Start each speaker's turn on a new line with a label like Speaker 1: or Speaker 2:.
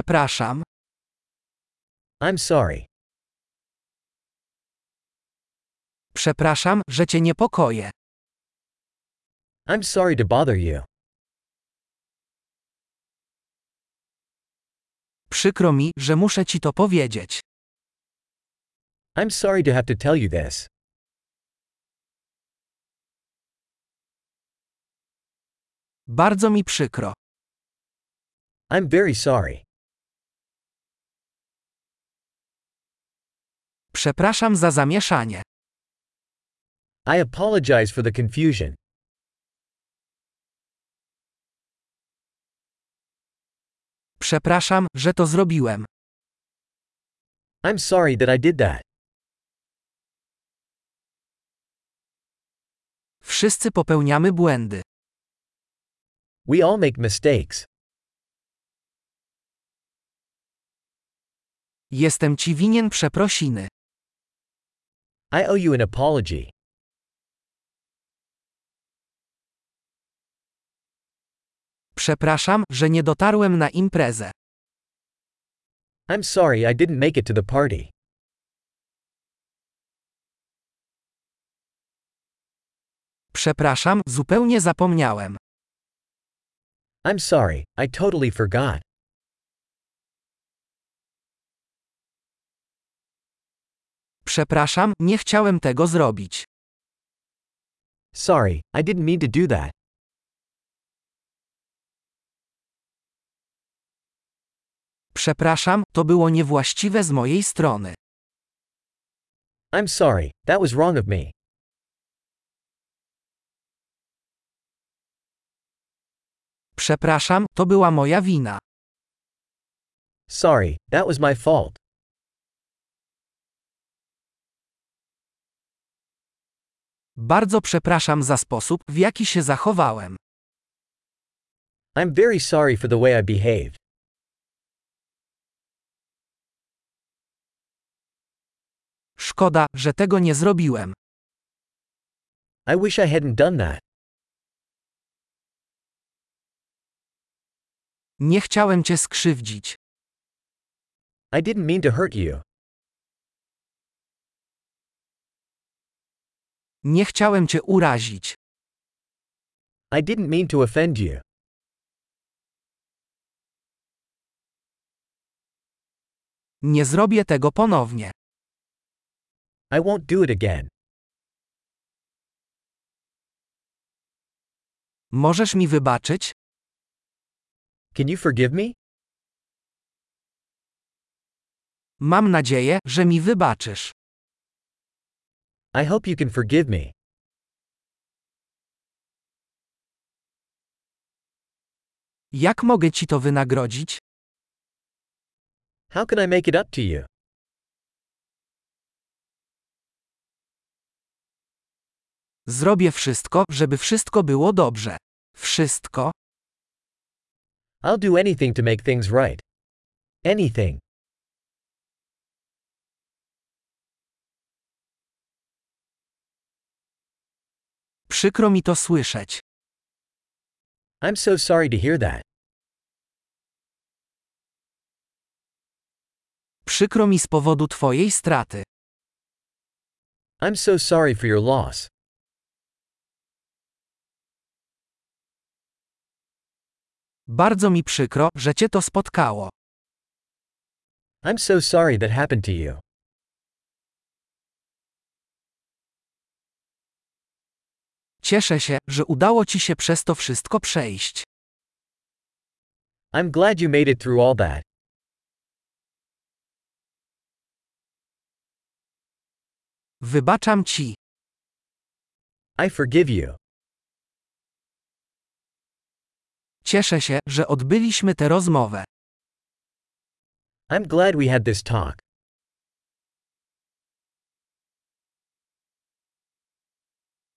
Speaker 1: Przepraszam.
Speaker 2: I'm sorry.
Speaker 1: Przepraszam, że cię niepokoję.
Speaker 2: I'm sorry to bother you.
Speaker 1: Przykro mi, że muszę ci to powiedzieć.
Speaker 2: I'm sorry to have to tell you this.
Speaker 1: Bardzo mi przykro.
Speaker 2: I'm very sorry.
Speaker 1: Przepraszam za zamieszanie.
Speaker 2: I apologize for the confusion.
Speaker 1: Przepraszam, że to zrobiłem.
Speaker 2: I'm sorry that I did that.
Speaker 1: Wszyscy popełniamy błędy.
Speaker 2: We all make mistakes.
Speaker 1: Jestem ci winien przeprosiny.
Speaker 2: I owe you an apology.
Speaker 1: Przepraszam, że nie dotarłem na imprezę.
Speaker 2: I'm sorry I didn't make it to the party.
Speaker 1: Przepraszam, zupełnie zapomniałem.
Speaker 2: I'm sorry, I totally forgot.
Speaker 1: Przepraszam, nie chciałem tego zrobić.
Speaker 2: Sorry, I didn't mean to do that.
Speaker 1: Przepraszam, to było niewłaściwe z mojej strony.
Speaker 2: I'm sorry, that was wrong of me.
Speaker 1: Przepraszam, to była moja wina.
Speaker 2: Sorry, that was my fault.
Speaker 1: Bardzo przepraszam za sposób, w jaki się zachowałem.
Speaker 2: I'm very sorry for the way I behaved.
Speaker 1: Szkoda, że tego nie zrobiłem.
Speaker 2: I wish I hadn't done that.
Speaker 1: Nie chciałem cię skrzywdzić.
Speaker 2: I didn't mean to hurt you.
Speaker 1: Nie chciałem cię urazić.
Speaker 2: I didn't mean to offend you.
Speaker 1: Nie zrobię tego ponownie.
Speaker 2: I won't do it again.
Speaker 1: Możesz mi wybaczyć?
Speaker 2: Can you forgive me?
Speaker 1: Mam nadzieję, że mi wybaczysz.
Speaker 2: I hope you can forgive me.
Speaker 1: Jak mogę ci to wynagrodzić?
Speaker 2: How can I make it up to you?
Speaker 1: Zrobię wszystko, żeby wszystko było dobrze. Wszystko?
Speaker 2: I'll do anything to make things right. Anything.
Speaker 1: Przykro mi to słyszeć.
Speaker 2: I'm so sorry to hear that.
Speaker 1: Przykro mi z powodu twojej straty.
Speaker 2: I'm so sorry for your loss.
Speaker 1: Bardzo mi przykro, że cię to spotkało.
Speaker 2: I'm so sorry that happened to you.
Speaker 1: Cieszę się, że udało ci się przez to wszystko przejść.
Speaker 2: I'm glad you made it through all that.
Speaker 1: Wybaczam ci.
Speaker 2: I forgive you.
Speaker 1: Cieszę się, że odbyliśmy tę rozmowę.
Speaker 2: I'm glad we had this talk.